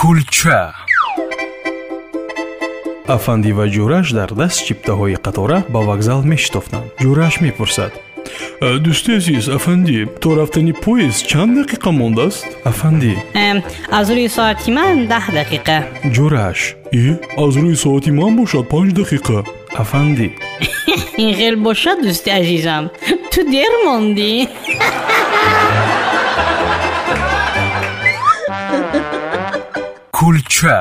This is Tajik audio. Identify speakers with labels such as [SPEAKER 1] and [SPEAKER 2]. [SPEAKER 1] кулча афанди ва ҷӯраш дар даст чиптаҳои қатора ба вокзал мешитофтанд ҷӯраш мепурсад
[SPEAKER 2] Э, дӯсти азиз афанди то рафтани поезд чанд дақиқа мондааст
[SPEAKER 1] афанди
[SPEAKER 3] Эм, аз рӯи соати ман даҳ дақиқа
[SPEAKER 1] ҷӯраш
[SPEAKER 2] и аз рӯи соати ман бошад панҷ дақиқа
[SPEAKER 1] афанди
[SPEAKER 3] ин хел бошад дӯсти азизам ту дер мондӣ
[SPEAKER 1] кулча